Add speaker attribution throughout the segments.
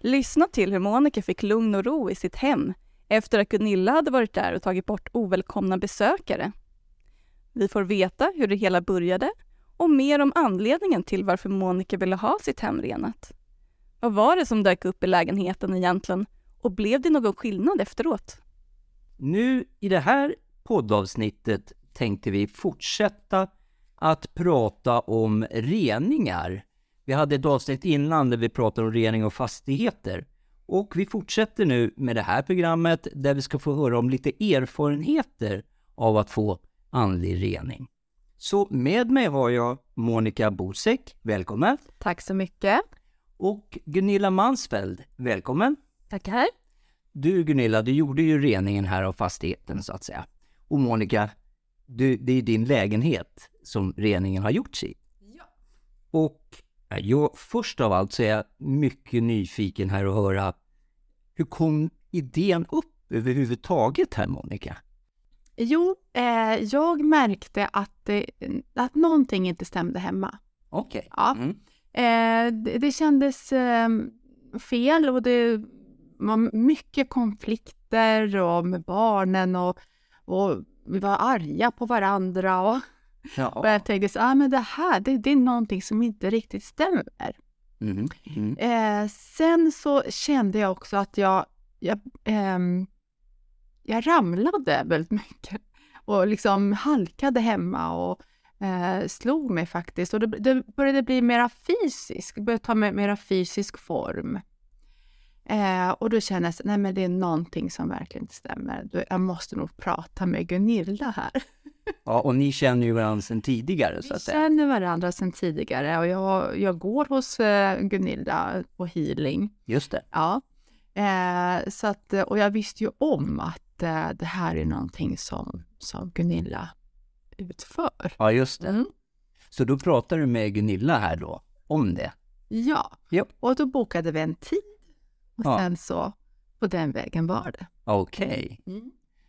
Speaker 1: Lyssna till hur Monica fick lugn och ro i sitt hem efter att Gunilla hade varit där och tagit bort ovälkomna besökare. Vi får veta hur det hela började och mer om anledningen till varför Monica ville ha sitt hem renat. Vad var det som dök upp i lägenheten egentligen och blev det någon skillnad efteråt?
Speaker 2: Nu i det här poddavsnittet tänkte vi fortsätta att prata om reningar. Vi hade ett avsnitt innan där vi pratade om rening av fastigheter. Och vi fortsätter nu med det här programmet där vi ska få höra om lite erfarenheter av att få andlig rening. Så med mig har jag Monica Bosek, välkommen!
Speaker 3: Tack så mycket.
Speaker 2: Och Gunilla Mansfeld, välkommen!
Speaker 3: Tackar.
Speaker 2: Du Gunilla, du gjorde ju reningen här av fastigheten så att säga. Och Monica, du, det är din lägenhet som reningen har gjorts i. Och ja, jag, först av allt så är jag mycket nyfiken här att höra hur kom idén upp överhuvudtaget här Monica?
Speaker 3: Jo, eh, jag märkte att, det, att någonting inte stämde hemma.
Speaker 2: Okej.
Speaker 3: Ja.
Speaker 2: Mm.
Speaker 3: Eh, det, det kändes eh, fel och det var mycket konflikter och med barnen och, och vi var arga på varandra. Och, och
Speaker 2: Ja.
Speaker 3: jag tänkte så, ah, men det här, det, det är någonting som inte riktigt stämmer.
Speaker 2: Mm. Mm.
Speaker 3: Eh, sen så kände jag också att jag, jag, ehm, jag ramlade väldigt mycket och liksom halkade hemma och eh, slog mig faktiskt. Och det, det började bli mera fysisk, började ta mer- mera fysisk form. Eh, och då kände jag, så, nej men det är någonting som verkligen inte stämmer. Då- Jag måste nog prata med Gunilla här.
Speaker 2: ja, och ni känner ju varandra sedan tidigare så
Speaker 3: Vi
Speaker 2: att säga.
Speaker 3: känner varandra sedan tidigare och jag, jag går hos eh, Gunilla på healing.
Speaker 2: Just det.
Speaker 3: Ja. Eh, så att, eh, och jag visste ju om att eh, det här är någonting som, som Gunilla utför.
Speaker 2: Ja, just det. Så då pratar du med Gunilla här då, om det.
Speaker 3: Ja,
Speaker 2: Japp.
Speaker 3: och då bokade vi en tid och
Speaker 2: Ja.
Speaker 3: sen så på den vägen var det.
Speaker 2: Okej.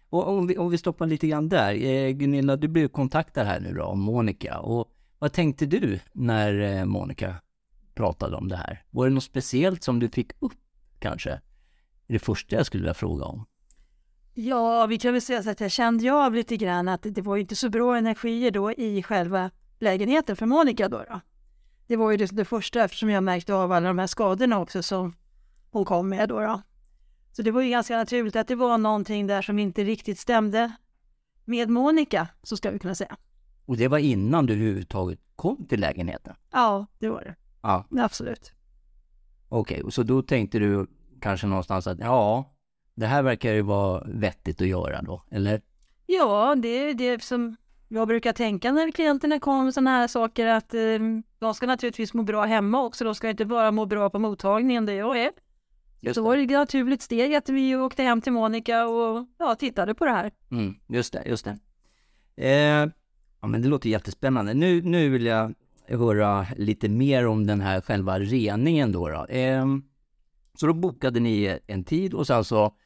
Speaker 2: Och om vi, om vi stoppar lite grann där. Eh, Gunilla, du blev kontaktad här nu då av Monica. Och vad tänkte du när eh, Monica pratade om det här? Var det något speciellt som du fick upp kanske? Det första jag skulle vilja fråga om.
Speaker 4: Ja, vi kan väl säga så att jag kände ju av lite grann att det var ju inte så bra energier då i själva lägenheten för Monica då. då. Det var ju det, det första eftersom jag märkte av alla de här skadorna också som hon kom med då. då. Så det var ju ganska naturligt att det var någonting där som inte riktigt stämde med Monica, så ska vi kunna säga.
Speaker 2: Och det var innan du överhuvudtaget kom till lägenheten?
Speaker 4: Ja, det var det.
Speaker 2: Ja.
Speaker 4: Absolut.
Speaker 2: Okej, och så då tänkte du kanske någonstans att ja, det här verkar ju vara vettigt att göra då, eller?
Speaker 4: Ja, det är det som jag brukar tänka när klienterna kommer med sådana här saker att eh, de ska naturligtvis må bra hemma också. De ska inte bara må bra på mottagningen där jag är.
Speaker 2: Just
Speaker 4: Så var det ett naturligt steg att vi åkte hem till Monica och ja, tittade på det här.
Speaker 2: Mm, just det, just det. Eh, ja, men det låter jättespännande. Nu, nu vill jag höra lite mer om den här själva reningen då. då. Eh, så då bokade ni en tid och sen så alltså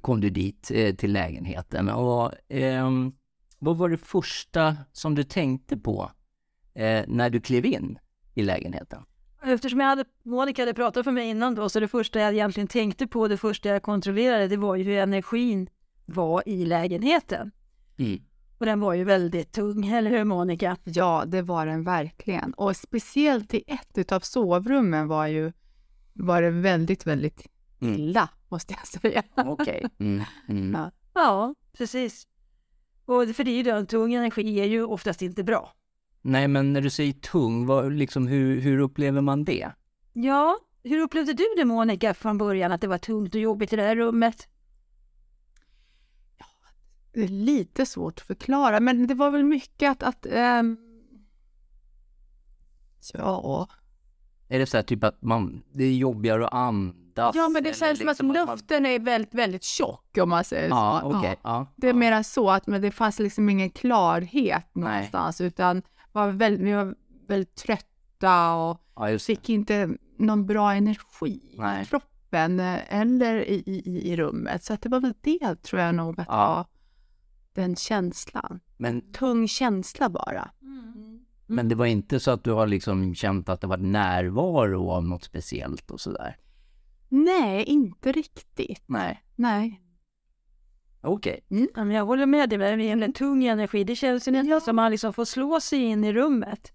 Speaker 2: kom du dit eh, till lägenheten. Och, ehm, vad var det första som du tänkte på eh, när du klev in i lägenheten?
Speaker 4: Eftersom jag hade, Monica hade pratat för mig innan då, så det första jag egentligen tänkte på, det första jag kontrollerade, det var ju hur energin var i lägenheten.
Speaker 2: Mm.
Speaker 4: Och den var ju väldigt tung, eller hur Monica?
Speaker 3: Ja, det var den verkligen. Och speciellt i ett utav sovrummen var ju var det väldigt, väldigt
Speaker 2: Mm.
Speaker 3: illa, måste jag säga.
Speaker 2: Okej. Mm, mm.
Speaker 4: Ja, precis. Och för det är ju den tung energi är ju oftast inte bra.
Speaker 2: Nej, men när du säger tung, vad, liksom, hur, hur upplever man det?
Speaker 4: Ja, hur upplevde du det Monica från början, att det var tungt och jobbigt i det här rummet?
Speaker 3: Det är lite svårt att förklara, men det var väl mycket att... att ehm, ja,
Speaker 2: Är det så här typ att man, det är jobbigare att andas?
Speaker 3: Ja, men
Speaker 2: eller
Speaker 3: det känns som att
Speaker 2: liksom man-
Speaker 3: luften är väldigt, väldigt tjock om man säger
Speaker 2: Ja,
Speaker 3: så.
Speaker 2: okej.
Speaker 3: Ja.
Speaker 2: Ja.
Speaker 3: Det är mera så att men det fanns liksom ingen klarhet någonstans utan var väldigt, vi var väldigt trötta och
Speaker 2: ja, just det.
Speaker 3: fick inte någon bra energi
Speaker 2: Nej.
Speaker 3: i kroppen eh, eller i, i, i- i rummet. Så att det var väl det tror jag nog att
Speaker 2: Ja.
Speaker 3: ja. den känslan.
Speaker 2: Men,
Speaker 3: Tung känsla bara.
Speaker 2: men det var inte så att du har liksom känt att det var närvaro av något speciellt och sådär?
Speaker 3: Nej, inte riktigt.
Speaker 2: Nej.
Speaker 3: Nej.
Speaker 2: Okej.
Speaker 4: Ja, men jag håller med dig, men det är en tung energi. Det känns ju nästan som att man liksom får slå sig in i rummet.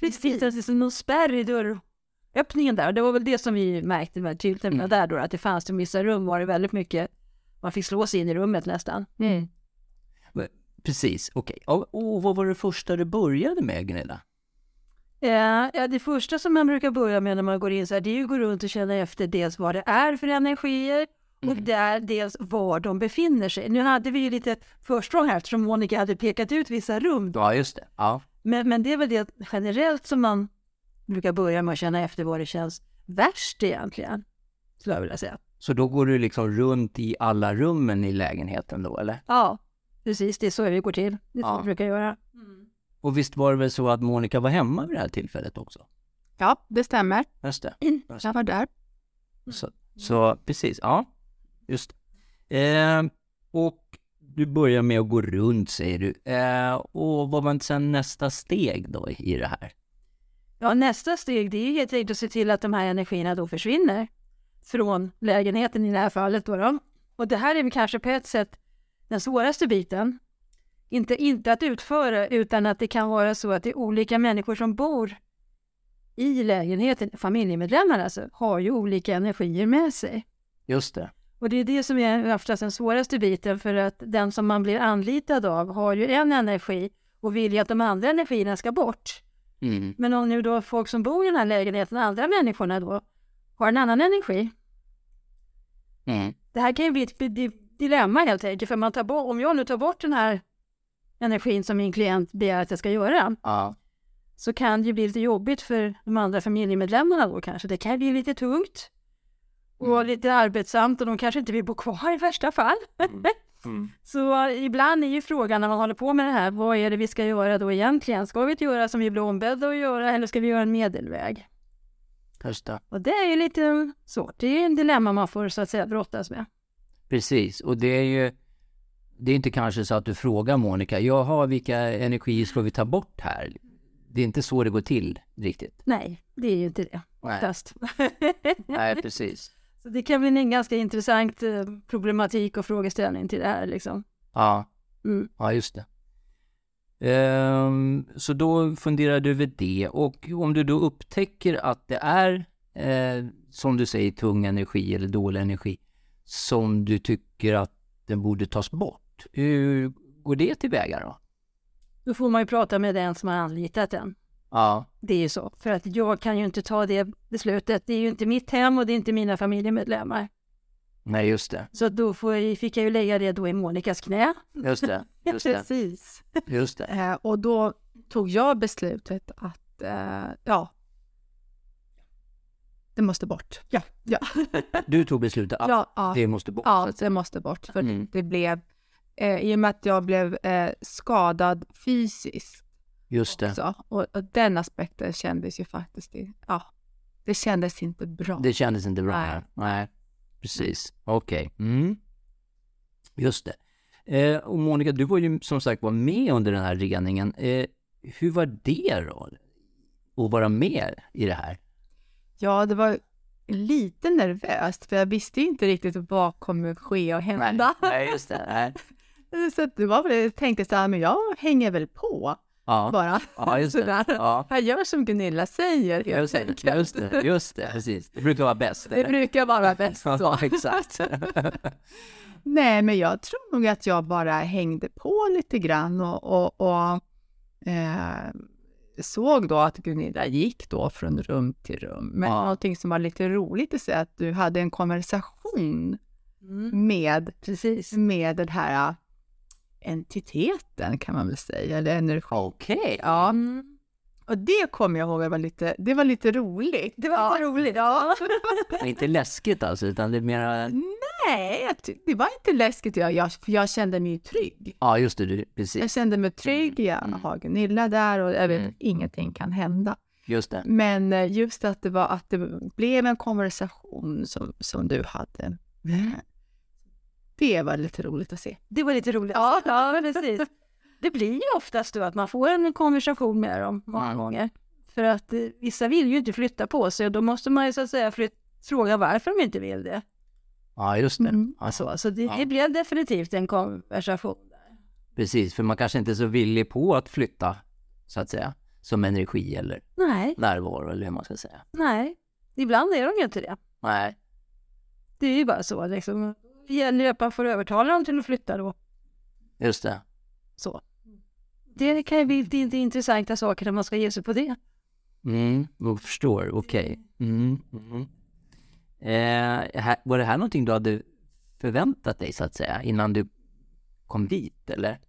Speaker 4: Precis. Det finns liksom någon spärr i dörröppningen där. Och det var väl det som vi märkte väldigt tydligt när vi var där då, att det fanns i vissa rum var det väldigt mycket, man fick slå sig in i rummet nästan.
Speaker 2: Precis, okej. Ja, Och vad var det första du började med Gunilla?
Speaker 4: Ja, Eh, ja, det första som man brukar börja med när man går in så här, det är ju att gå runt och känna efter dels vad det är för energier och där dels var de befinner sig. Nu hade vi ju lite försprång här eftersom Monica hade pekat ut vissa rum
Speaker 2: Ja, just det. Ja.
Speaker 4: Men, men det är väl det generellt som man brukar börja med att känna efter vad det känns värst egentligen. Skulle jag vilja säga.
Speaker 2: Så då går du liksom runt i alla rummen i lägenheten då, eller?
Speaker 4: Ja, precis. Det är så vi går till. Det är så
Speaker 2: Ja.
Speaker 4: vi brukar göra.
Speaker 2: Och visst var det väl så att Monica var hemma vid det här tillfället också?
Speaker 3: Ja, det stämmer.
Speaker 2: Just det.
Speaker 3: Jag var där.
Speaker 2: Så, så precis, ja. Just det. eh, Och du börjar med att gå runt säger du. Eh, och vad var sen nästa steg då i det här?
Speaker 4: Ja, nästa steg det är ju helt enkelt att se till att de här energierna då försvinner från lägenheten i det här fallet. Då då. Och det här är väl kanske på ett sätt den svåraste biten. Inte, inte att utföra utan att det kan vara så att det är olika människor som bor i lägenheten, familjemedlemmar alltså, har ju olika energier med sig.
Speaker 2: Just det.
Speaker 4: Och det är det som är oftast den svåraste biten för att den som man blir anlitad av har ju en energi och vill ju att de andra energierna ska bort.
Speaker 2: Mm.
Speaker 4: Men om nu då folk som bor i den här lägenheten, andra människorna då, har en annan energi.
Speaker 2: Mm.
Speaker 4: Det här kan ju bli ett bi- di- dilemma helt enkelt, för man tar bort, om jag nu tar bort den här energin som min klient begär att jag ska göra,
Speaker 2: Ja.
Speaker 4: så kan det ju bli lite jobbigt för de andra familjemedlemmarna då kanske. Det kan bli lite tungt och lite arbetsamt och de kanske inte vill bo kvar i värsta fall. Så eh, ibland är ju frågan när man håller på med det här, vad är det vi ska göra då egentligen? Ska vi inte göra som vi blir ombedda att göra eller ska vi göra en medelväg?
Speaker 2: Just det.
Speaker 4: Och det är ju lite svårt. Det är ju en dilemma man får så att säga brottas med.
Speaker 2: Precis, och det är ju Det är inte kanske så att du frågar Monica, jaha vilka energier ska vi ta bort här? Det är inte så det går till riktigt.
Speaker 4: Nej, det är ju inte det.
Speaker 2: Nej,
Speaker 4: Fast.
Speaker 2: nej precis.
Speaker 4: så det kan bli en ganska intressant eh, problematik och frågeställning till det här liksom.
Speaker 2: Ja,
Speaker 4: Mm.
Speaker 2: ja just det. Ehm, så då funderar du över det och om du då upptäcker att det är eh, som du säger tung energi eller dålig energi som du tycker att den borde tas bort. Hur går det tillväga då?
Speaker 4: Då får man ju prata med den som har anlitat den.
Speaker 2: Ja,
Speaker 4: Det är ju så, för att jag kan ju inte ta det beslutet. Det är ju inte mitt hem och det är inte mina familjemedlemmar.
Speaker 2: nej just det.
Speaker 4: Så då får, fick jag ju lägga det då i Monikas knä.
Speaker 2: Just det, just det,
Speaker 3: Precis.
Speaker 2: just det.
Speaker 3: Eh, och då tog jag beslutet att, eh, ja, det måste bort. Ja, ja,
Speaker 2: Du tog beslutet att
Speaker 3: ja, ja,
Speaker 2: det måste bort. så
Speaker 3: ja
Speaker 2: att säga.
Speaker 3: det måste bort. För
Speaker 2: Mm.
Speaker 3: det blev, eh, i och med att jag blev eh, skadad fysiskt
Speaker 2: Just det.
Speaker 3: så, och, och den aspekten kändes ju faktiskt, i- ja, det kändes inte bra.
Speaker 2: Det kändes inte bra.
Speaker 3: Nej.
Speaker 2: Nej, Nej. precis. Okej. Mm. Just det. Eh, och Monica, du var ju som sagt var med under den här reningen. Eh, hur var det då? Att vara med i det här?
Speaker 3: Ja, det var lite nervöst för jag visste ju inte riktigt vad kommer ske och hända.
Speaker 2: Nej, just det. Nej.
Speaker 3: Så att det var väl, jag tänkte så här, men jag hänger väl på
Speaker 2: Ja.
Speaker 3: bara.
Speaker 2: ja, just det.
Speaker 3: Sådär.
Speaker 2: Ja.
Speaker 3: Jag gör som Gunilla säger helt
Speaker 2: Just det,
Speaker 3: enkelt.
Speaker 2: just det, just det, precis. Det brukar vara bäst.
Speaker 3: Det brukar vara bäst så.
Speaker 2: Ja, exakt.
Speaker 3: Nej, men jag tror nog att jag bara hängde på lite grann och, och, och eh, såg då att Gunilla gick då från rum till rum. Men
Speaker 2: Ja.
Speaker 3: någonting som var lite roligt att se att du hade en konversation
Speaker 4: Mm.
Speaker 3: med,
Speaker 4: Precis.
Speaker 3: med den här eh, entiteten kan man väl säga, eller energi.
Speaker 2: Okej.
Speaker 3: Ja,
Speaker 4: Mm.
Speaker 3: Och det kommer jag ihåg, det var lite, det var lite roligt.
Speaker 4: Det var lite roligt. Ja.
Speaker 2: Men inte läskigt alltså, utan det är mera...
Speaker 3: Nej, jag ty- det var inte läskigt. Jag, jag, för jag kände mig trygg.
Speaker 2: Ja, just det, du-
Speaker 3: Jag
Speaker 2: precis.
Speaker 3: kände mig trygg. Jag
Speaker 2: Mm.
Speaker 3: har Gunilla där och jag vet
Speaker 2: Mm.
Speaker 3: ingenting kan hända.
Speaker 2: Just det.
Speaker 3: Men eh, just att det, var, att det blev en konversation som, som du hade.
Speaker 4: Mm.
Speaker 3: Det var lite roligt att se.
Speaker 4: Det var lite roligt. Ja, ja precis. Det blir ju oftast då att man får en konversation med dem många
Speaker 2: Mm.
Speaker 4: gånger. För att eh, vissa vill ju inte flytta på sig och då måste man ju så att säga flyt- fråga varför de inte vill det.
Speaker 2: Ja, just det. Alltså,
Speaker 3: Mm.
Speaker 2: Ja,
Speaker 4: Så, så det,
Speaker 2: Ja.
Speaker 4: det blev definitivt en konversation.
Speaker 2: Precis, för man kanske inte är så villig på att flytta, så att säga, som energi eller
Speaker 4: Nej,
Speaker 2: närvaro eller hur man ska säga.
Speaker 4: nej. Ibland är de ju inte det.
Speaker 2: Nej,
Speaker 4: Det är ju bara så liksom. Det gäller ju att man får övertala dem till att flytta då.
Speaker 2: just det.
Speaker 4: Så. Det kan ju bli det är inte intressanta saker när man ska ge sig på det.
Speaker 2: Mm, jag förstår, okej. Mm, mm. Eh, här, var det här någonting du hade förväntat dig, så att säga, innan du kom dit, eller?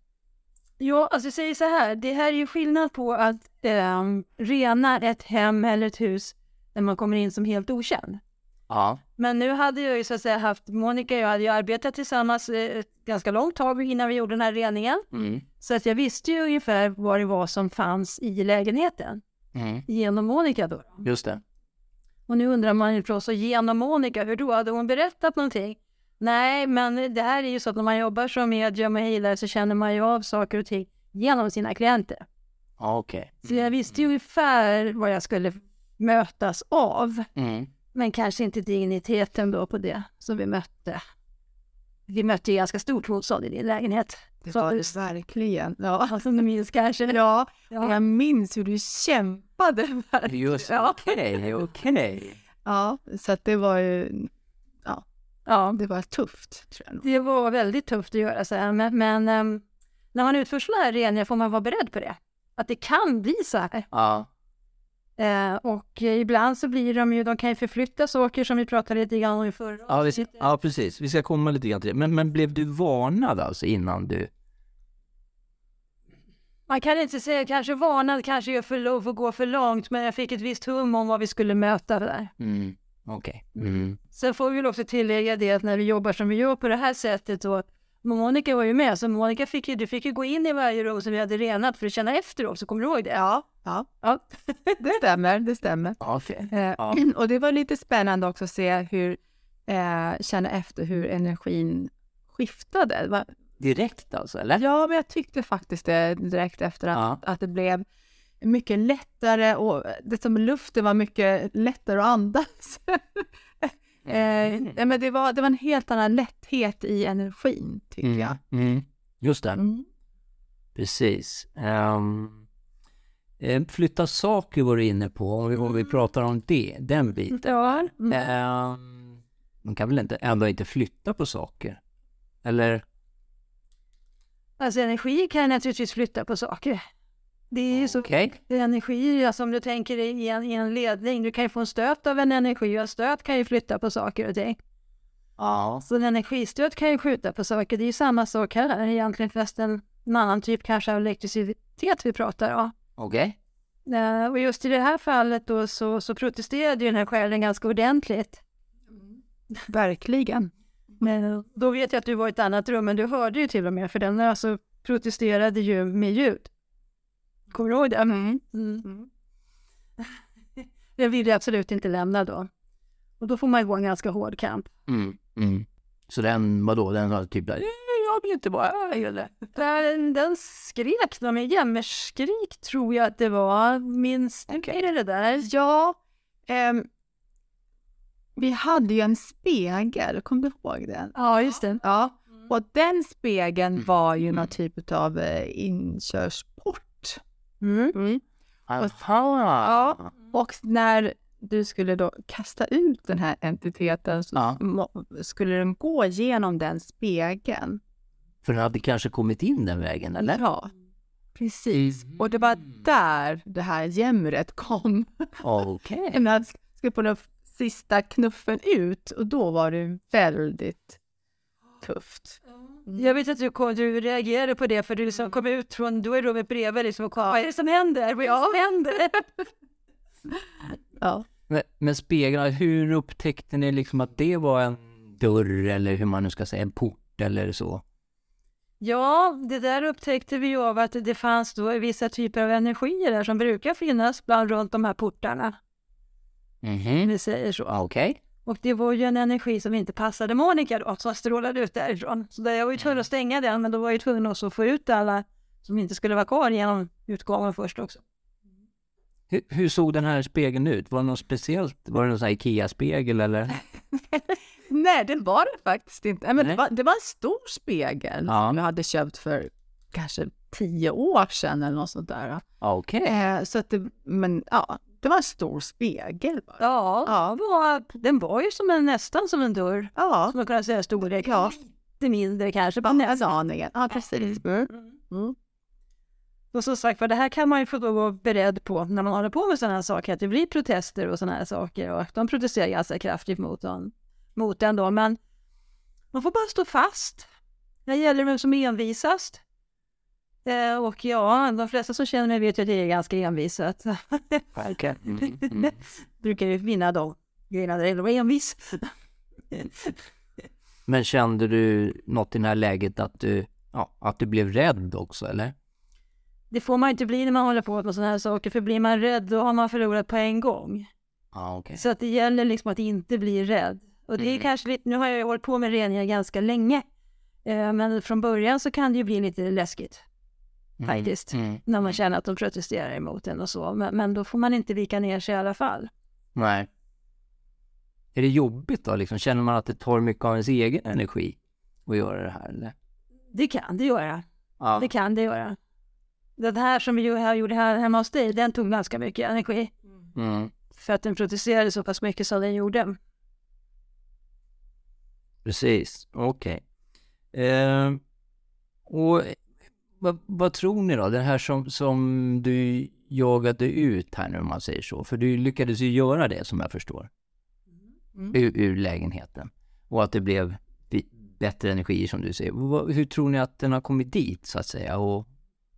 Speaker 4: Ja, alltså jag säger så här. Det här är ju skillnad på att ehm, rena ett hem eller ett hus när man kommer in som helt okänd.
Speaker 2: Ja,
Speaker 4: Men nu hade jag ju så att säga haft, Monica och jag hade ju arbetat tillsammans eh, ett ganska långt tag innan vi gjorde den här reningen.
Speaker 2: mm.
Speaker 4: Så att jag visste ju ungefär vad det var som fanns i lägenheten
Speaker 2: Mm.
Speaker 4: genom Monica då.
Speaker 2: just det.
Speaker 4: Och nu undrar man ju förstås, och genom Monica, hur då? Hade hon berättat någonting? Nej, men det här är ju så att när man jobbar som medium och healare så känner man ju av saker och ting genom sina klienter.
Speaker 2: Ja, okej.
Speaker 4: Så jag visste ju ungefär vad jag skulle mötas av.
Speaker 2: Mm.
Speaker 4: Men kanske inte digniteten då på det som vi mötte. Vi mötte ju ganska stort motstånd i din lägenhet.
Speaker 3: Det
Speaker 4: Så-
Speaker 3: var det verkligen. Ja.
Speaker 4: Alltså, ni minns kanske?
Speaker 3: Ja, och
Speaker 4: Ja.
Speaker 3: jag minns hur du kämpade. Där.
Speaker 2: Just
Speaker 4: Ja.
Speaker 2: okej, okej.
Speaker 3: Ja, så att det var ju
Speaker 4: ja.
Speaker 3: det var tufft. Tror jag. nog.
Speaker 4: Det var väldigt tufft att göra så här, men, men ehm, när man utför sådana här reningar får man vara beredd på det. Att det kan bli så här.
Speaker 2: Ja,
Speaker 4: Eh, och eh, ibland så blir de ju, de kan ju förflytta saker som vi pratade lite grann om i förra
Speaker 2: Ja, vi,
Speaker 4: avsnittet.
Speaker 2: ja, precis. Vi ska komma lite grann till det. Men, men blev du varnad alltså innan du...
Speaker 4: Man kan inte säga kanske varnad, kanske jag för lov att gå för långt, men jag fick ett visst hum om vad vi skulle möta där.
Speaker 2: Mm. Okej. Mm.
Speaker 4: Sen får vi väl också tillägga det att när vi jobbar som vi gör på det här sättet då, Monica var ju med, så Monica fick ju, du fick ju gå in i varje rum som vi hade renat för att känna efter också, kommer du ihåg det? Ja.
Speaker 3: Ja,
Speaker 4: Ja.
Speaker 3: det stämmer. Det stämmer.
Speaker 2: Ja, okej.
Speaker 3: Eh,
Speaker 2: Ja.
Speaker 3: Och det var lite spännande också att se hur, eh, känna efter hur energin skiftade. Det var-
Speaker 2: Direkt alltså, eller?
Speaker 3: Ja, men jag tyckte faktiskt det direkt efter att,
Speaker 2: Ja.
Speaker 3: att det blev mycket lättare och det som luften var mycket lättare att andas.
Speaker 4: Mm.
Speaker 3: eh,
Speaker 2: Mhm.
Speaker 3: nej, men det, var, det var en helt annan lätthet i energin, tycker jag.
Speaker 2: Mm. Just det.
Speaker 3: Mm.
Speaker 2: Precis. Ehm, eh, flytta saker var du inne på, om vi, om vi pratar om det, den biten.
Speaker 4: Ja. Mm.
Speaker 2: Ehm, man kan väl inte, ändå inte flytta på saker? Eller?
Speaker 4: Alltså energi kan naturligtvis flytta på saker. Det är ju så
Speaker 2: Okej.
Speaker 4: Energi, alltså om du tänker i en, i en ledning, du kan ju få en stöt av en energi och en stöt kan ju flytta på saker och ting.
Speaker 2: Ja.
Speaker 4: Så en energistöt kan ju skjuta på saker, det är ju samma sak här egentligen fast en, en annan typ kanske av elektricitet vi pratar om.
Speaker 2: Okej.
Speaker 4: Eh, Och just i det här fallet då så, så protesterade ju den här själen ganska ordentligt.
Speaker 3: Verkligen.
Speaker 4: Men då vet jag att du var i ett annat rum, men du hörde ju till och med för den alltså protesterade ju med ljud. Kommer du ihåg det? Mm. Den vill jag absolut inte lämna då. Och då får man ju gå en ganska hård kamp.
Speaker 2: Mm. Mm. Så den, vadå, den var typ där, jag vill inte vara här eller?
Speaker 4: Den, den skrek, de med jämmerskrik tror jag att det var. Minns okay. det det där?
Speaker 3: Ja, ehm, vi hade ju en spegel, kom du ihåg den? Alltså,
Speaker 4: Ja, just det.
Speaker 3: Ja, och den spegeln
Speaker 2: Mm.
Speaker 3: var ju
Speaker 2: Mm.
Speaker 3: någon typ av inkörsport.
Speaker 4: Mm.
Speaker 3: Ja. Och när du skulle då kasta ut den här entiteten så
Speaker 2: Ja.
Speaker 3: må- skulle den gå genom den spegeln.
Speaker 2: För den hade kanske kommit in den vägen, eller?
Speaker 3: Ja, precis. Och det var
Speaker 2: Mm.
Speaker 3: där det här jämret kom.
Speaker 2: Okej.
Speaker 3: När han skulle på den sista knuffen ut och då var det väldigt tufft.
Speaker 4: Jag vet att du, kom, du reagerade på det för du liksom kom ut från, du är i rummet bredvid liksom och kom, vad är det som händer? Vad är det som händer?
Speaker 3: Ja.
Speaker 2: Men, men speglarna, hur upptäckte ni liksom att det var en dörr eller hur man nu ska säga, en port eller så?
Speaker 4: Ja, det där upptäckte vi ju av att det fanns då vissa typer av energier där som brukar finnas bland runt de här portarna. om
Speaker 2: Mhm.
Speaker 4: Vi säger så.
Speaker 2: Okej.
Speaker 4: Och det var ju en energi som inte passade Monica då, som strålade ut därifrån. Så där jag var ju tvungen att stänga den, men då var jag ju tvungen också att få ut alla som inte skulle vara kvar genom utgången först också.
Speaker 2: Hur, hur såg den här spegeln ut? Var det något speciellt? Var det någon sån här IKEA-spegel eller?
Speaker 3: Nej, det var det faktiskt inte. Nej, Men det,
Speaker 2: Nej.
Speaker 3: var, det var en stor spegel
Speaker 2: Ja.
Speaker 3: som jag hade köpt för kanske tio år sedan eller något sånt där.
Speaker 2: Okej.
Speaker 3: Eh, så att det, men ja, det var en stor spegel bara.
Speaker 4: Ja,
Speaker 3: Ja.
Speaker 4: det Var, den var ju som en, nästan som en dörr,
Speaker 3: Ja,
Speaker 4: som man kunde säga storlek.
Speaker 3: Ja.
Speaker 4: Lite mindre kanske. Alltså.
Speaker 3: ja
Speaker 4: på näsan.
Speaker 3: en aningen. Ja, precis. Mm.
Speaker 4: Och som sagt för det här kan man ju få då vara beredd på när man håller på med sådana här saker, att det blir protester och sådana här saker och de protesterar ganska kraftigt mot den, mot den då, men man får bara stå fast. Det gäller vem som är envisast. Eh, och ja, de flesta som känner mig vet ju att jag är ganska envis, så att
Speaker 2: Okej. Mm, mm.
Speaker 4: brukar ju vinna de grejerna där det gäller att vara envis.
Speaker 2: Men kände du något i det här läget att du, ja, att du blev rädd också eller?
Speaker 4: Det får man ju inte bli när man håller på med sådana här saker, för blir man rädd då har man förlorat på en gång.
Speaker 2: Ja, okej. Mm.
Speaker 4: Så att det gäller liksom att inte bli rädd. Och det är kanske lite, nu har jag ju hållit på med reningar ganska länge. Eh, Men från början så kan det ju bli lite läskigt faktiskt.
Speaker 2: Mm.
Speaker 4: När man känner att de protesterar emot en och så. Men, men då får man inte vika ner sig i alla fall.
Speaker 2: Nej. Är det jobbigt då liksom? Känner man att det tar mycket av ens egen energi att göra det här eller?
Speaker 4: Det kan det göra.
Speaker 2: Ja.
Speaker 4: Det kan det göra. Den här som vi ju här gjorde här hemma hos dig, den tog ganska mycket energi.
Speaker 2: Mm.
Speaker 4: För att den protesterade så pass mycket som den gjorde.
Speaker 2: Precis, okej. Ehm, och eh, vad, vad tror ni då? Det här som, som du jagade ut här nu om man säger så. För du lyckades ju göra det som jag förstår. Ur, ur lägenheten. Och att det blev bi- bättre energier som du säger. Vad- hur tror ni att den har kommit dit så att säga? Och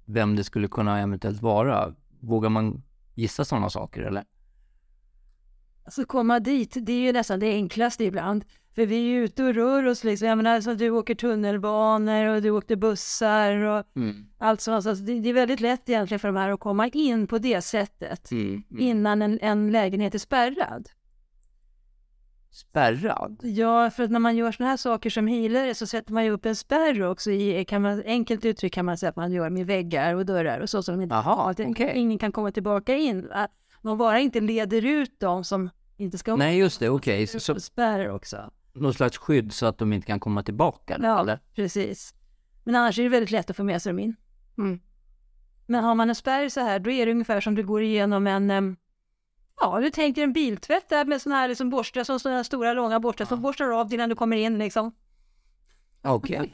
Speaker 2: vem det skulle kunna eventuellt vara? Vågar man gissa sådana saker eller?
Speaker 4: Alltså komma dit, det är ju nästan det enklaste ibland. För vi är ju ute och rör oss liksom. Jag menar, som du åker tunnelbanor och du åkte bussar och allt sånt. Så det, det är väldigt lätt egentligen för de här att komma in på det sättet
Speaker 2: Mm.
Speaker 4: innan en, en lägenhet är spärrad.
Speaker 2: Spärrad?
Speaker 4: Ja, för att när man gör sådana här saker som healare så sätter man ju upp en spärr också. I, kan man, enkelt uttryckt kan man säga att man gör med väggar och dörrar och så. så de inte,
Speaker 2: Jaha,
Speaker 4: att det-
Speaker 2: okej.
Speaker 4: Ingen kan komma tillbaka in. Att man bara inte leder ut dem som inte ska
Speaker 2: Nej just det, okej. Så- så-
Speaker 4: upp spärr också.
Speaker 2: någon slags skydd så att de inte kan komma tillbaka?
Speaker 4: Ja,
Speaker 2: Eller?
Speaker 4: precis. Men annars är det väldigt lätt att få med sig dem in.
Speaker 3: Mm.
Speaker 4: Men har man en spärr så här, då är det ungefär som du går igenom en... em, Ja, du tänker en biltvätt där med sådana här liksom borstar, som sådana här stora långa borstar som borstar av dig innan du kommer in liksom.
Speaker 2: Okej.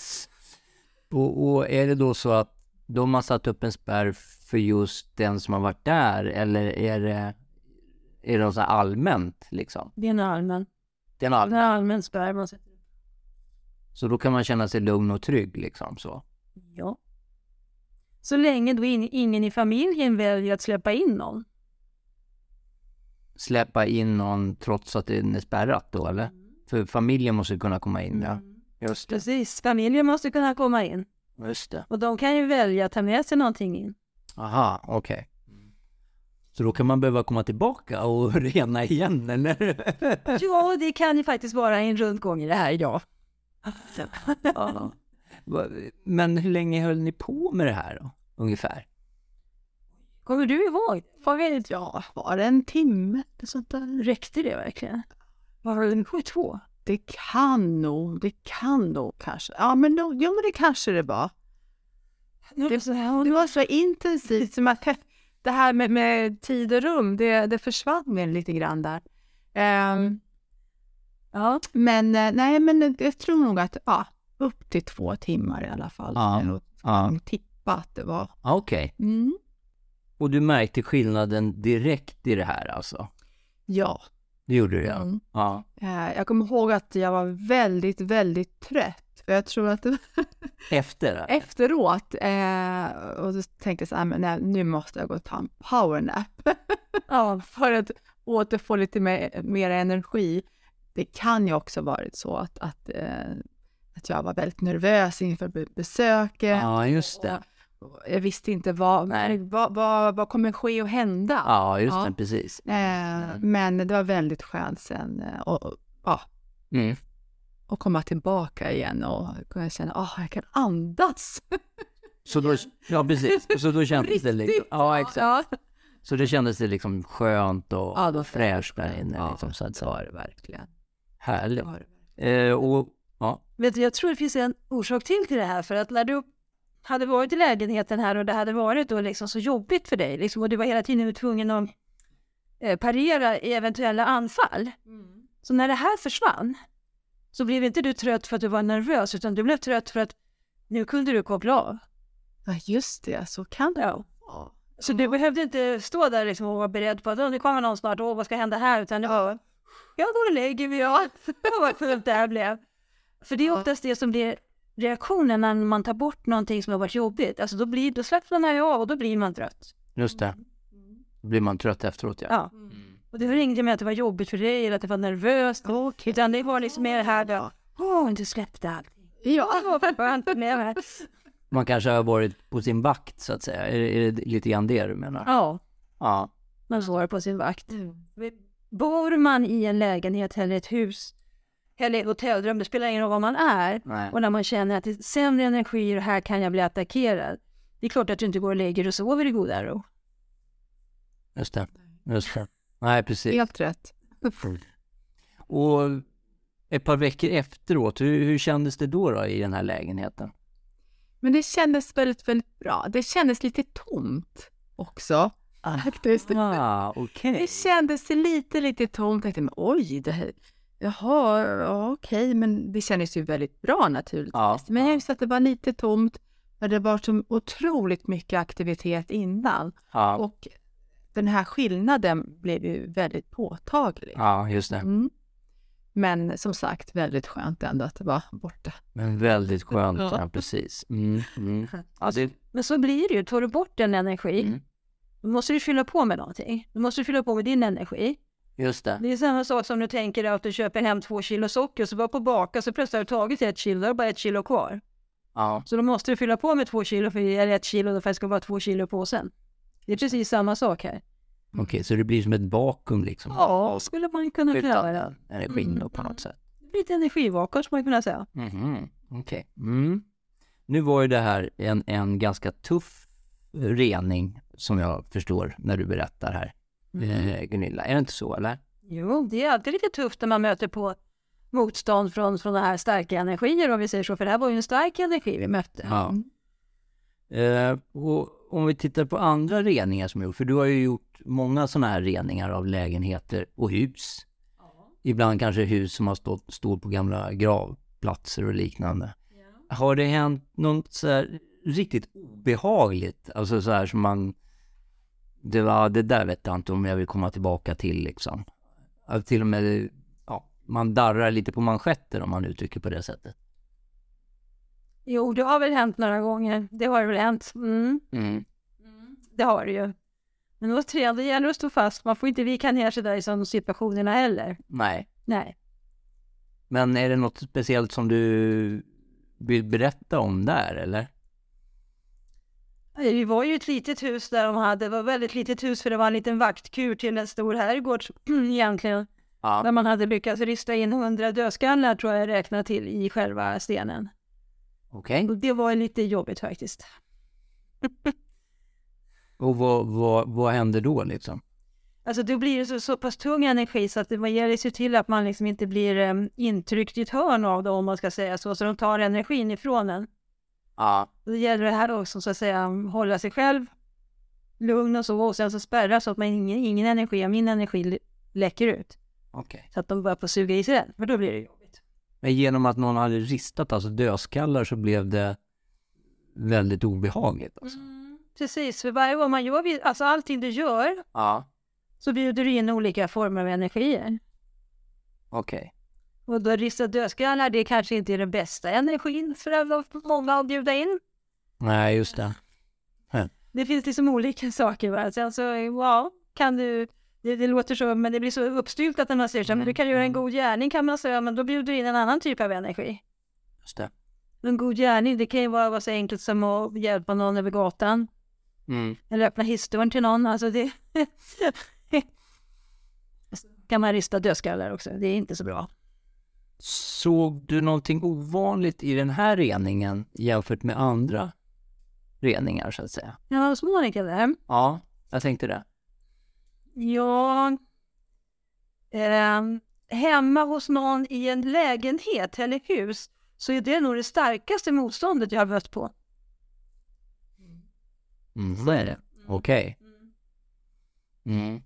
Speaker 2: och, och är det då så att de har satt upp en spärr för just den som har varit där eller är det, är det något så här allmänt liksom?
Speaker 4: Det är en allmän,
Speaker 2: Det är en
Speaker 4: en
Speaker 2: allmän.
Speaker 4: allmän spärr man sätter.
Speaker 2: Så då kan man känna sig lugn och trygg liksom så?
Speaker 4: Ja. Så länge då in, ingen i familjen väljer att släppa in någon.
Speaker 2: Släppa in någon trots att det är spärrat då eller? För familjen måste ju kunna komma in ja. Just
Speaker 4: Precis, familjen måste kunna komma in.
Speaker 2: Just det.
Speaker 4: Och de kan ju välja att ta med sig någonting in.
Speaker 2: Aha, okej. Så då kan man behöva komma tillbaka och rena igen eller?
Speaker 4: Ja, det kan ju faktiskt vara en rundgång i det här, ja.
Speaker 2: Va- Men hur länge höll ni på med det här då? Ungefär?
Speaker 4: Kommer du ihåg?
Speaker 3: Vad vet jag, var det en timme eller sånt där?
Speaker 4: Räckte det verkligen? Var det 72?
Speaker 3: Det kan nog, det kan nog kanske. Ja, men, nog- jo, men det kanske det var.
Speaker 4: Det, så här,
Speaker 3: Det var så intensivt som att det här med, med tid och rum, det, det försvann väl lite grann där. Ehm,
Speaker 4: ja.
Speaker 3: men eh, nej, men jag tror nog att ja, upp till två timmar i alla fall.
Speaker 2: Ja.
Speaker 3: Jag
Speaker 2: Ja.
Speaker 3: kan tippa att det var.
Speaker 2: Ah,
Speaker 3: Mm.
Speaker 2: Okej. Och du märkte skillnaden direkt i det här alltså?
Speaker 3: Ja,
Speaker 2: Det gjorde du ja.
Speaker 3: Mm.
Speaker 2: ja.
Speaker 3: Eh, Jag kommer ihåg att jag var väldigt, väldigt trött. För jag tror att det
Speaker 2: Efter?
Speaker 3: efteråt, eh, och då tänkte jag så här, men nej, nu måste jag gå och ta en powernap.
Speaker 4: Ja.
Speaker 3: för att återfå lite mer, mer energi. Det kan ju också varit så att, att, eh, att jag var väldigt nervös inför be- besöket.
Speaker 2: Ja, just det.
Speaker 3: Jag visste inte vad,
Speaker 2: Nej.
Speaker 3: vad, vad, vad kommer ske och hända.
Speaker 2: Ja, Mm. just
Speaker 3: Ja.
Speaker 2: det. Precis.
Speaker 3: Eh, men det var väldigt skönt sen eh, och, och, ja,
Speaker 2: Mm.
Speaker 3: att komma tillbaka igen och kunna känna att jag kan andas.
Speaker 2: Så då, ja, precis. Så då kändes det liksom...
Speaker 3: Riktigt.
Speaker 2: Ja, exakt.
Speaker 3: Ja.
Speaker 2: Så det kändes det liksom skönt och
Speaker 3: Ja, då-
Speaker 2: fräscht där inne.
Speaker 3: Ja,
Speaker 2: liksom, så att,
Speaker 3: så var det verkligen.
Speaker 2: Härligt.
Speaker 3: Så var det.
Speaker 2: Eh, och, ja.
Speaker 4: Vet du, jag tror det finns en orsak till till det här för att när du hade varit i lägenheten här och det hade varit då liksom så jobbigt för dig liksom, och du var hela tiden tvungen att eh, parera i eventuella anfall. Så när det här försvann så blev inte du trött för att du var nervös utan du blev trött för att nu kunde du koppla av.
Speaker 3: Ja, just det, så kan det
Speaker 4: Ja.
Speaker 3: vara.
Speaker 4: Så du behövde inte stå där liksom och vara beredd på att "Åh, nu kommer någon snart, åh vad ska hända här? Utan ja. jag går och lägger mig, ja. Åh, vad skönt det här blev. För det är oftast det som blir reaktionen när man tar bort någonting som har varit jobbigt. Alltså då, blir, då släpper man här av och då blir man trött.
Speaker 2: Just det. Då blir man trött efteråt, ja.
Speaker 4: Ja.
Speaker 3: Mm.
Speaker 4: Och det har ingenting med att det var jobbigt för dig eller att det var nervöst.
Speaker 3: Okej.
Speaker 4: Utan det var liksom mer det här då, åh du släppte allting.
Speaker 3: Ja.
Speaker 4: Åh, vad skönt med det här.
Speaker 2: Man kanske har varit på sin vakt, så att säga. Är, det- är det lite grann det du menar?
Speaker 4: Ja,
Speaker 2: Ja.
Speaker 4: man står på sin vakt.
Speaker 2: Mm.
Speaker 4: Bor man i en lägenhet eller ett hus eller ett hotellrum, det spelar ingen roll var man är.
Speaker 2: Nej.
Speaker 4: Och när man känner att det är sämre energi och här kan jag bli attackerad. Det är klart att du inte går och lägger dig och sover i goda ro.
Speaker 2: Just det. Just det. Nej, precis.
Speaker 3: Helt rätt.
Speaker 2: Och ett par veckor efteråt, hur, hur kändes det då, då i den här lägenheten?
Speaker 3: Men det kändes väldigt, väldigt bra. Det kändes lite tomt också. Faktiskt.
Speaker 2: Ah, okej.
Speaker 3: Det kändes lite, lite tomt. Jag tänkte, men oj, det här... Jaha, ja, okej, men det kändes ju väldigt bra naturligtvis.
Speaker 2: Ja.
Speaker 3: Men just att det var lite tomt. Men det var så otroligt mycket aktivitet innan.
Speaker 2: Ja,
Speaker 3: Och den här skillnaden blev ju väldigt påtaglig.
Speaker 2: ja, just det.
Speaker 3: Mm. Men som sagt, väldigt skönt ändå att det var borta.
Speaker 2: Men väldigt skönt,
Speaker 3: Ja.
Speaker 2: ja, precis. Mm, mm. Ja, det,
Speaker 4: Men så blir det ju, tar du bort den energi,
Speaker 2: Mm.
Speaker 4: då måste du fylla på med någonting. Då måste du fylla på med din energi.
Speaker 2: just det.
Speaker 4: Det är samma sak som du tänker att du köper hem två kilo socker, så bara på baka så plötsligt har du tagit ett kilo, då är det bara ett kilo kvar.
Speaker 2: Ja,
Speaker 4: Så då måste du fylla på med två kilo, för eller ett kilo för att det ska vara två kilo på sen. Det är precis samma sak här.
Speaker 2: okej, så det blir som ett vakuum liksom.
Speaker 4: Ja, skulle man kunna
Speaker 2: Utan
Speaker 4: göra.
Speaker 2: den energin då på något sätt.
Speaker 4: Lite energivakuum skulle man kunna säga.
Speaker 2: Mhm, Okej. Mm. Nu var ju det här en, en ganska tuff rening som jag förstår när du berättar här, eh, Gunilla. Är det inte så eller?
Speaker 4: Jo, det är alltid lite tufft när man möter på motstånd från sådana här starka energier om vi säger så, för det här var ju en stark energi vi mötte.
Speaker 2: Ja. Eh, och om vi tittar på andra reningar som jag gjort, för du har ju gjort många sådana här reningar av lägenheter och hus. Ibland kanske hus som har stått, står på gamla gravplatser och liknande. Har det hänt något så här riktigt obehagligt? Alltså så här som man... Det, var, det där vet jag inte om jag vill komma tillbaka till liksom. Att till och med... Ja, man darrar lite på manschetten om man uttrycker på det sättet.
Speaker 4: Jo, det har väl hänt några gånger. Det har väl hänt. Mm, det har det ju. Men återigen, det gäller att stå fast. Man får inte vika ner sig där i sådana situationerna heller.
Speaker 2: Nej.
Speaker 4: Nej.
Speaker 2: Men är det något speciellt som du vill berätta om där eller?
Speaker 4: Vi var ju ett litet hus där de hade, det var väldigt litet hus för det var en liten vaktkur till en stor herrgård egentligen. Där
Speaker 2: Ja.
Speaker 4: man hade lyckats rista in hundra dödskallar tror jag jag räknade till i själva stenen.
Speaker 2: Okej.
Speaker 4: Och Det var lite jobbigt faktiskt.
Speaker 2: Och vad, vad, vad händer då liksom?
Speaker 4: Alltså då blir det så, så pass tung energi så att det man gäller sig till att man liksom inte blir um, intryckt i ett hörn av det om man ska säga så. Så de tar energin ifrån en.
Speaker 2: Ja.
Speaker 4: Och Det gäller det här också så att säga hålla sig själv lugn och så och sen så spärra så att man ingen, ingen energi av min energi l- läcker ut.
Speaker 2: Okej.
Speaker 4: Så att de börjar på att suga i sig den. För då blir det jobbigt.
Speaker 2: Men genom att någon hade ristat alltså dödskallar så blev det väldigt obehagligt alltså?
Speaker 4: Precis, för varje gång man gör, alltså allting du gör
Speaker 2: Ja.
Speaker 4: så bjuder du in olika former av energier.
Speaker 2: Okej.
Speaker 4: Och då rista dödskallar, det kanske inte är den bästa energin för att många att bjuda in.
Speaker 2: Nej, just det.
Speaker 4: Det finns liksom olika saker. Va? Sen så, ja, kan du... Det, det låter så, men det blir så uppstyrt att när man säger så här, men du kan göra en god gärning kan man säga, ja, men då bjuder du in en annan typ av energi.
Speaker 2: Just det.
Speaker 4: En god gärning, det kan ju vara, vara så enkelt som att hjälpa någon över gatan
Speaker 2: Mm.
Speaker 4: eller öppna hissdörren till någon. Alltså det... kan man rista dödskallar också, det är inte så bra.
Speaker 2: Såg du någonting ovanligt i den här reningen jämfört med andra reningar så att säga?
Speaker 4: När man var hos Monica där,
Speaker 2: Ja, jag tänkte det.
Speaker 4: Ja... ehm, hemma hos någon i en lägenhet eller hus så är det nog det starkaste motståndet jag har mött på.
Speaker 2: Mm, det är det. Okej. Mm.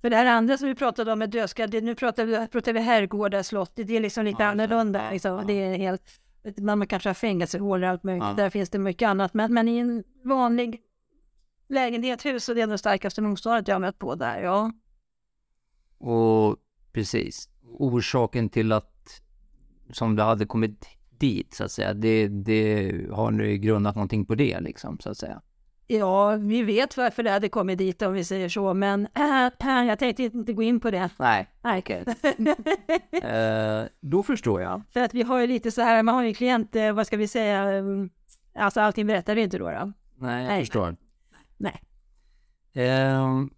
Speaker 4: För det här andra som vi pratade om med dödskall, det- nu pratar vi, pratar vi herrgårdar, slott, det, det är liksom lite
Speaker 2: Ja, just det.
Speaker 4: annorlunda.
Speaker 2: Ja,
Speaker 4: Liksom.
Speaker 2: ja.
Speaker 4: Det är helt, man kanske har fängelsehål och allt möjligt,
Speaker 2: Ja.
Speaker 4: där finns det mycket annat. Men, men i en vanlig lägenhet, hus, så är det nog det starkaste motståndet jag har mött på där. Ja.
Speaker 2: Och precis, orsaken till att som det hade kommit dit så att säga, det, det har nu grundat någonting på det liksom så att säga.
Speaker 4: Ja, vi vet varför det hade kommit dit om vi säger så, men äh, jag tänkte inte gå in på det.
Speaker 2: Nej.
Speaker 4: Nej.
Speaker 2: Eh, då förstår jag.
Speaker 4: För att vi har ju lite så här, man har ju klient, eh, vad ska vi säga, mm, alltså allting berättar vi inte då. då.
Speaker 2: Nej, jag
Speaker 4: Nej.
Speaker 2: förstår.
Speaker 4: Nej.
Speaker 2: Ehm,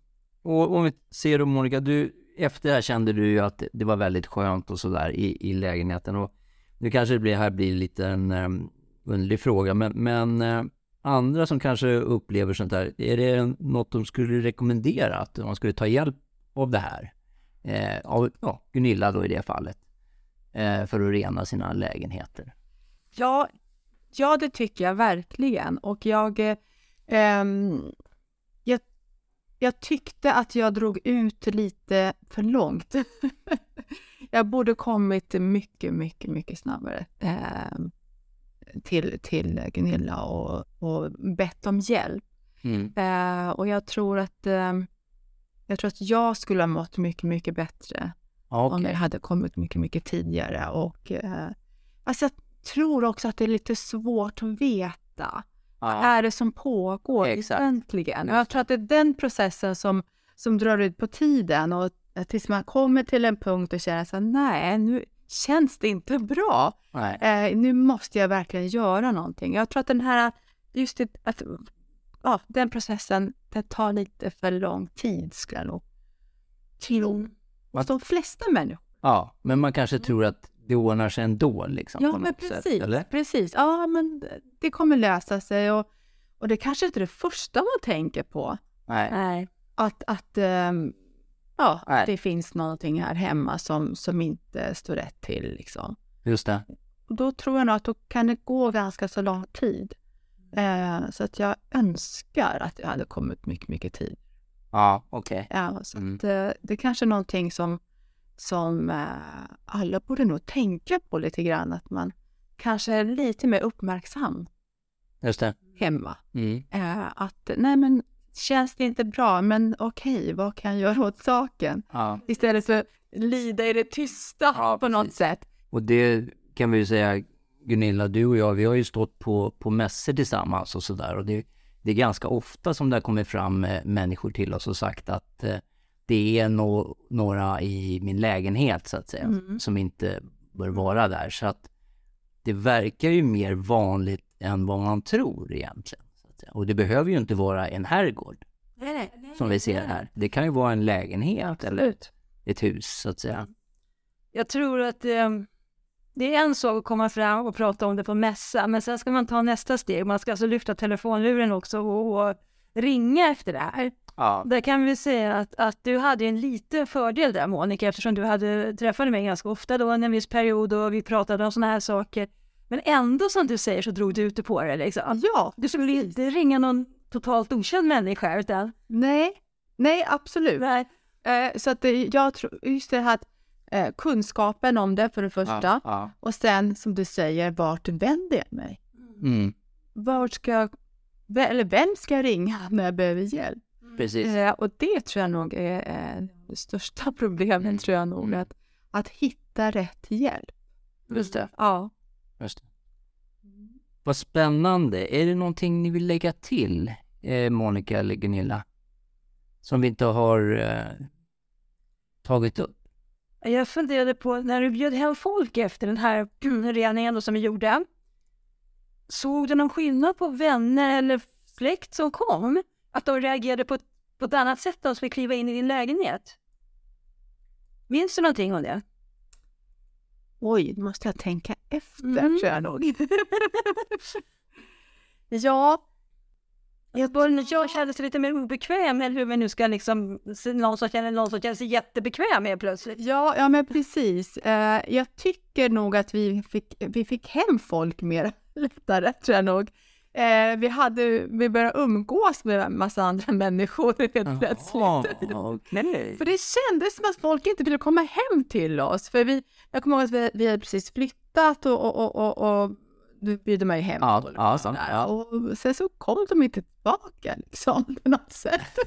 Speaker 2: och om vi ser då Monica, du, efter det här kände du ju att det var väldigt skönt och sådär i, i lägenheten. Och nu kanske det blir, här blir lite en um, underlig fråga, men, men eh, andra som kanske upplever sånt här, är det något de skulle rekommendera att man skulle ta hjälp av det här? Eh, av ja, Gunilla då i det fallet. Eh, för att rena sina lägenheter.
Speaker 3: Ja, ja, det tycker jag verkligen. Och jag, eh, ehm, jag, jag tyckte att jag drog ut lite för långt. jag borde kommit mycket, mycket, mycket snabbare ehm, till, till Gunilla och, och bett om hjälp. Eh, och jag tror att ehm, jag tror att jag skulle ha mått mycket, mycket bättre
Speaker 2: Ja, okej.
Speaker 3: om det hade kommit mycket, mycket tidigare. Och, eh, alltså jag tror också att det är lite svårt att veta. Vad
Speaker 2: Ja.
Speaker 3: är det som pågår
Speaker 2: Exakt.
Speaker 3: egentligen? Och Jag tror att det är den processen som, som drar ut på tiden och att tills man kommer till en punkt och känner att nej, nu känns det inte bra.
Speaker 2: Nej.
Speaker 3: Eh, nu måste jag verkligen göra någonting. Jag tror att den här, just det, att, ja, den processen, den tar lite för lång tid skulle jag nog tro.
Speaker 2: Mm. Vad-
Speaker 3: De flesta människor
Speaker 2: Ja, men man kanske tror att det ordnar sig ändå liksom.
Speaker 3: Mm. Ja,
Speaker 2: på
Speaker 3: men
Speaker 2: något sätt,
Speaker 3: precis.
Speaker 2: eller?
Speaker 3: precis. Ja, men det kommer lösa sig och, och det kanske inte är det första man tänker på.
Speaker 2: Nej.
Speaker 4: Nej.
Speaker 3: Att, att ehm, ja,
Speaker 2: Nej.
Speaker 3: att det finns någonting här hemma som, som inte står rätt till. Liksom.
Speaker 2: Just det.
Speaker 3: Och då tror jag nog att då kan det gå ganska så lång tid. Eh, så att jag önskar att jag hade kommit mycket, mycket tid.
Speaker 2: Ja, okej.
Speaker 3: Ja, så
Speaker 2: Mm.
Speaker 3: att, eh, det kanske är någonting som, som eh, alla borde nog tänka på lite grann. Att man kanske är lite mer uppmärksam
Speaker 2: Just det.
Speaker 3: hemma.
Speaker 2: Mm.
Speaker 3: Eh, att nej men känns det inte bra, men okej, vad kan jag göra åt saken?
Speaker 2: Ja.
Speaker 3: Istället för lida i det tysta
Speaker 2: Ja,
Speaker 3: på något
Speaker 2: precis.
Speaker 3: sätt.
Speaker 2: Och det kan vi ju säga, Gunilla, du och jag, vi har ju stått på, på mässor tillsammans och sådär. Och det, det är ganska ofta som det har kommit fram eh, människor till oss och sagt att eh, det är nå några i min lägenhet så att säga,
Speaker 3: Mm.
Speaker 2: som inte bör vara där. Så att det verkar ju mer vanligt än vad man tror egentligen. Så att säga. Och det behöver ju inte vara en herrgård. som vi ser här. Det kan ju vara en lägenhet eller ett hus så att säga.
Speaker 4: Jag tror att ehm, det är en sak att komma fram och prata om det på mässa, men sen ska man ta nästa steg. Man ska alltså lyfta telefonluren också och, och ringa efter det här.
Speaker 2: Ja.
Speaker 4: Där kan vi säga att, att du hade en liten fördel där Monica eftersom du hade träffade mig ganska ofta då under en viss period och vi pratade om sådana här saker. Men ändå som du säger så drog du ut det på det liksom.
Speaker 3: Ja,
Speaker 4: Du skulle inte ringa någon totalt okänd människa utan
Speaker 3: nej, nej absolut.
Speaker 4: nej,
Speaker 3: Eh, så att det, jag tror, just det här att, eh, kunskapen om det för det första
Speaker 2: Ja.
Speaker 3: och sen som du säger, vart vänder jag mig?
Speaker 2: Mm.
Speaker 3: Vart ska jag, ve- eller vem ska jag ringa när jag behöver hjälp?
Speaker 2: Precis.
Speaker 3: Eh, och det tror jag nog är eh, det största problemet,
Speaker 2: Mm.
Speaker 3: tror jag nog.
Speaker 2: Mm.
Speaker 3: Att, att hitta rätt hjälp.
Speaker 4: Just det.
Speaker 1: Ja.
Speaker 2: Just det. Vad spännande. Är det någonting ni vill lägga till, eh, Monica eller Gunilla? Som vi inte har eh, tagit upp?
Speaker 4: Jag funderade på när du bjöd hem folk efter den här reningen då som vi gjorde. Såg du någon skillnad på vänner eller släkt som kom? Att de reagerade på, ett- på ett annat sätt när de skulle kliva in i din lägenhet? Minns du någonting om det?
Speaker 3: Oj, nu måste jag tänka efter
Speaker 4: Mm.
Speaker 3: tror jag nog.
Speaker 4: Ja. Jag, började, jag kände sig lite mer obekväm, eller hur vi nu ska liksom, någon som känner någon som känner sig jättebekväm helt plötsligt.
Speaker 3: Ja, ja men precis. Eh, jag tycker nog att vi fick, vi fick hem folk mer lättare, tror jag nog. Eh, vi, hade, vi började umgås med en massa andra människor helt plötsligt.
Speaker 2: Jaha, okej.
Speaker 3: För det kändes som att folk inte ville komma hem till oss. För vi, jag kommer ihåg att vi, vi hade precis flyttat och, och, och, och, och du bjuder mig hem.
Speaker 2: Ja,
Speaker 3: och,
Speaker 2: ja,
Speaker 3: sådär.
Speaker 2: ja.
Speaker 3: och sen så kom de inte tillbaka liksom på något sätt.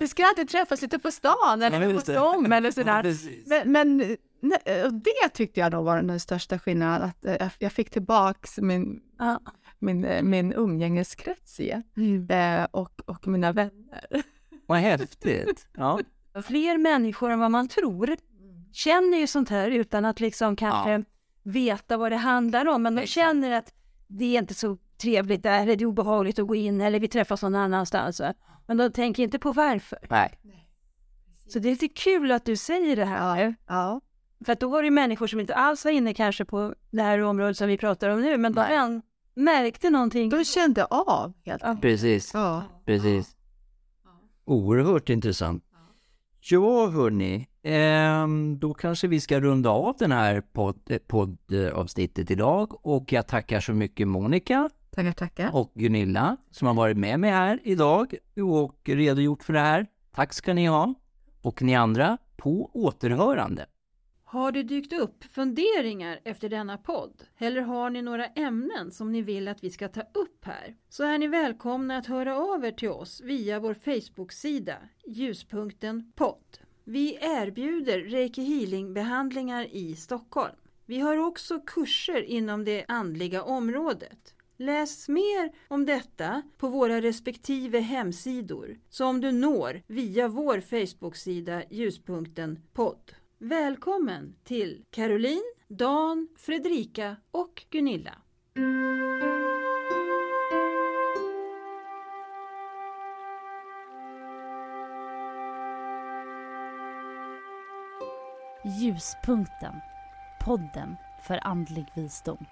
Speaker 3: vi skulle alltid träffas lite på stan
Speaker 2: Ja,
Speaker 3: eller
Speaker 2: just
Speaker 3: på
Speaker 2: det.
Speaker 3: dem eller
Speaker 2: Ja,
Speaker 3: sådär.
Speaker 2: precis.
Speaker 3: alltså Men, men nej, och det tyckte jag då var den största skillnaden, att eh, jag- jag fick tillbaks min,
Speaker 4: Ja. Mm.
Speaker 3: min, eh, min umgängeskrets igen. Eh, Och, och mina vänner.
Speaker 2: Vad häftigt. Ja.
Speaker 4: Fler människor än vad man tror känner ju sånt här utan att liksom kanske veta vad det handlar om. Men de känner att det är inte så trevligt där, eller det är obehagligt att gå in, eller vi träffas någon annanstans. va? Men de tänker inte på varför.
Speaker 2: Nej.
Speaker 4: Så det är lite kul att du säger det här.
Speaker 3: Ja.
Speaker 4: För att då var det ju människor som inte alls var inne kanske på det här området som vi pratar om nu, men de än märkte någonting.
Speaker 3: De kände av helt
Speaker 4: Ja.
Speaker 2: Precis,
Speaker 3: Ja.
Speaker 2: precis. Oerhört intressant. Ja, hörni. ehm, Då kanske vi ska runda av den här podd- eh, poddavsnittet idag. Och jag tackar så mycket Monica
Speaker 3: Tackar, tackar.
Speaker 2: och Gunilla som har varit med mig här idag och redogjort för det här. Tack ska ni ha. Och ni andra, på återhörande.
Speaker 5: Har det dykt upp funderingar efter denna podd? Eller har ni några ämnen som ni vill att vi ska ta upp här? Så är ni välkomna att höra av er till oss via vår Facebook-sida Ljuspunkten podd. Vi erbjuder Reiki Healing-behandlingar i Stockholm. Vi har också kurser inom det andliga området. Läs mer om detta på våra respektive hemsidor som du når via vår Facebook-sida Ljuspunkten podd. Välkommen till Caroline, Dan, Fredrika och Gunilla.
Speaker 6: Ljuspunkten. Podden för andlig visdom.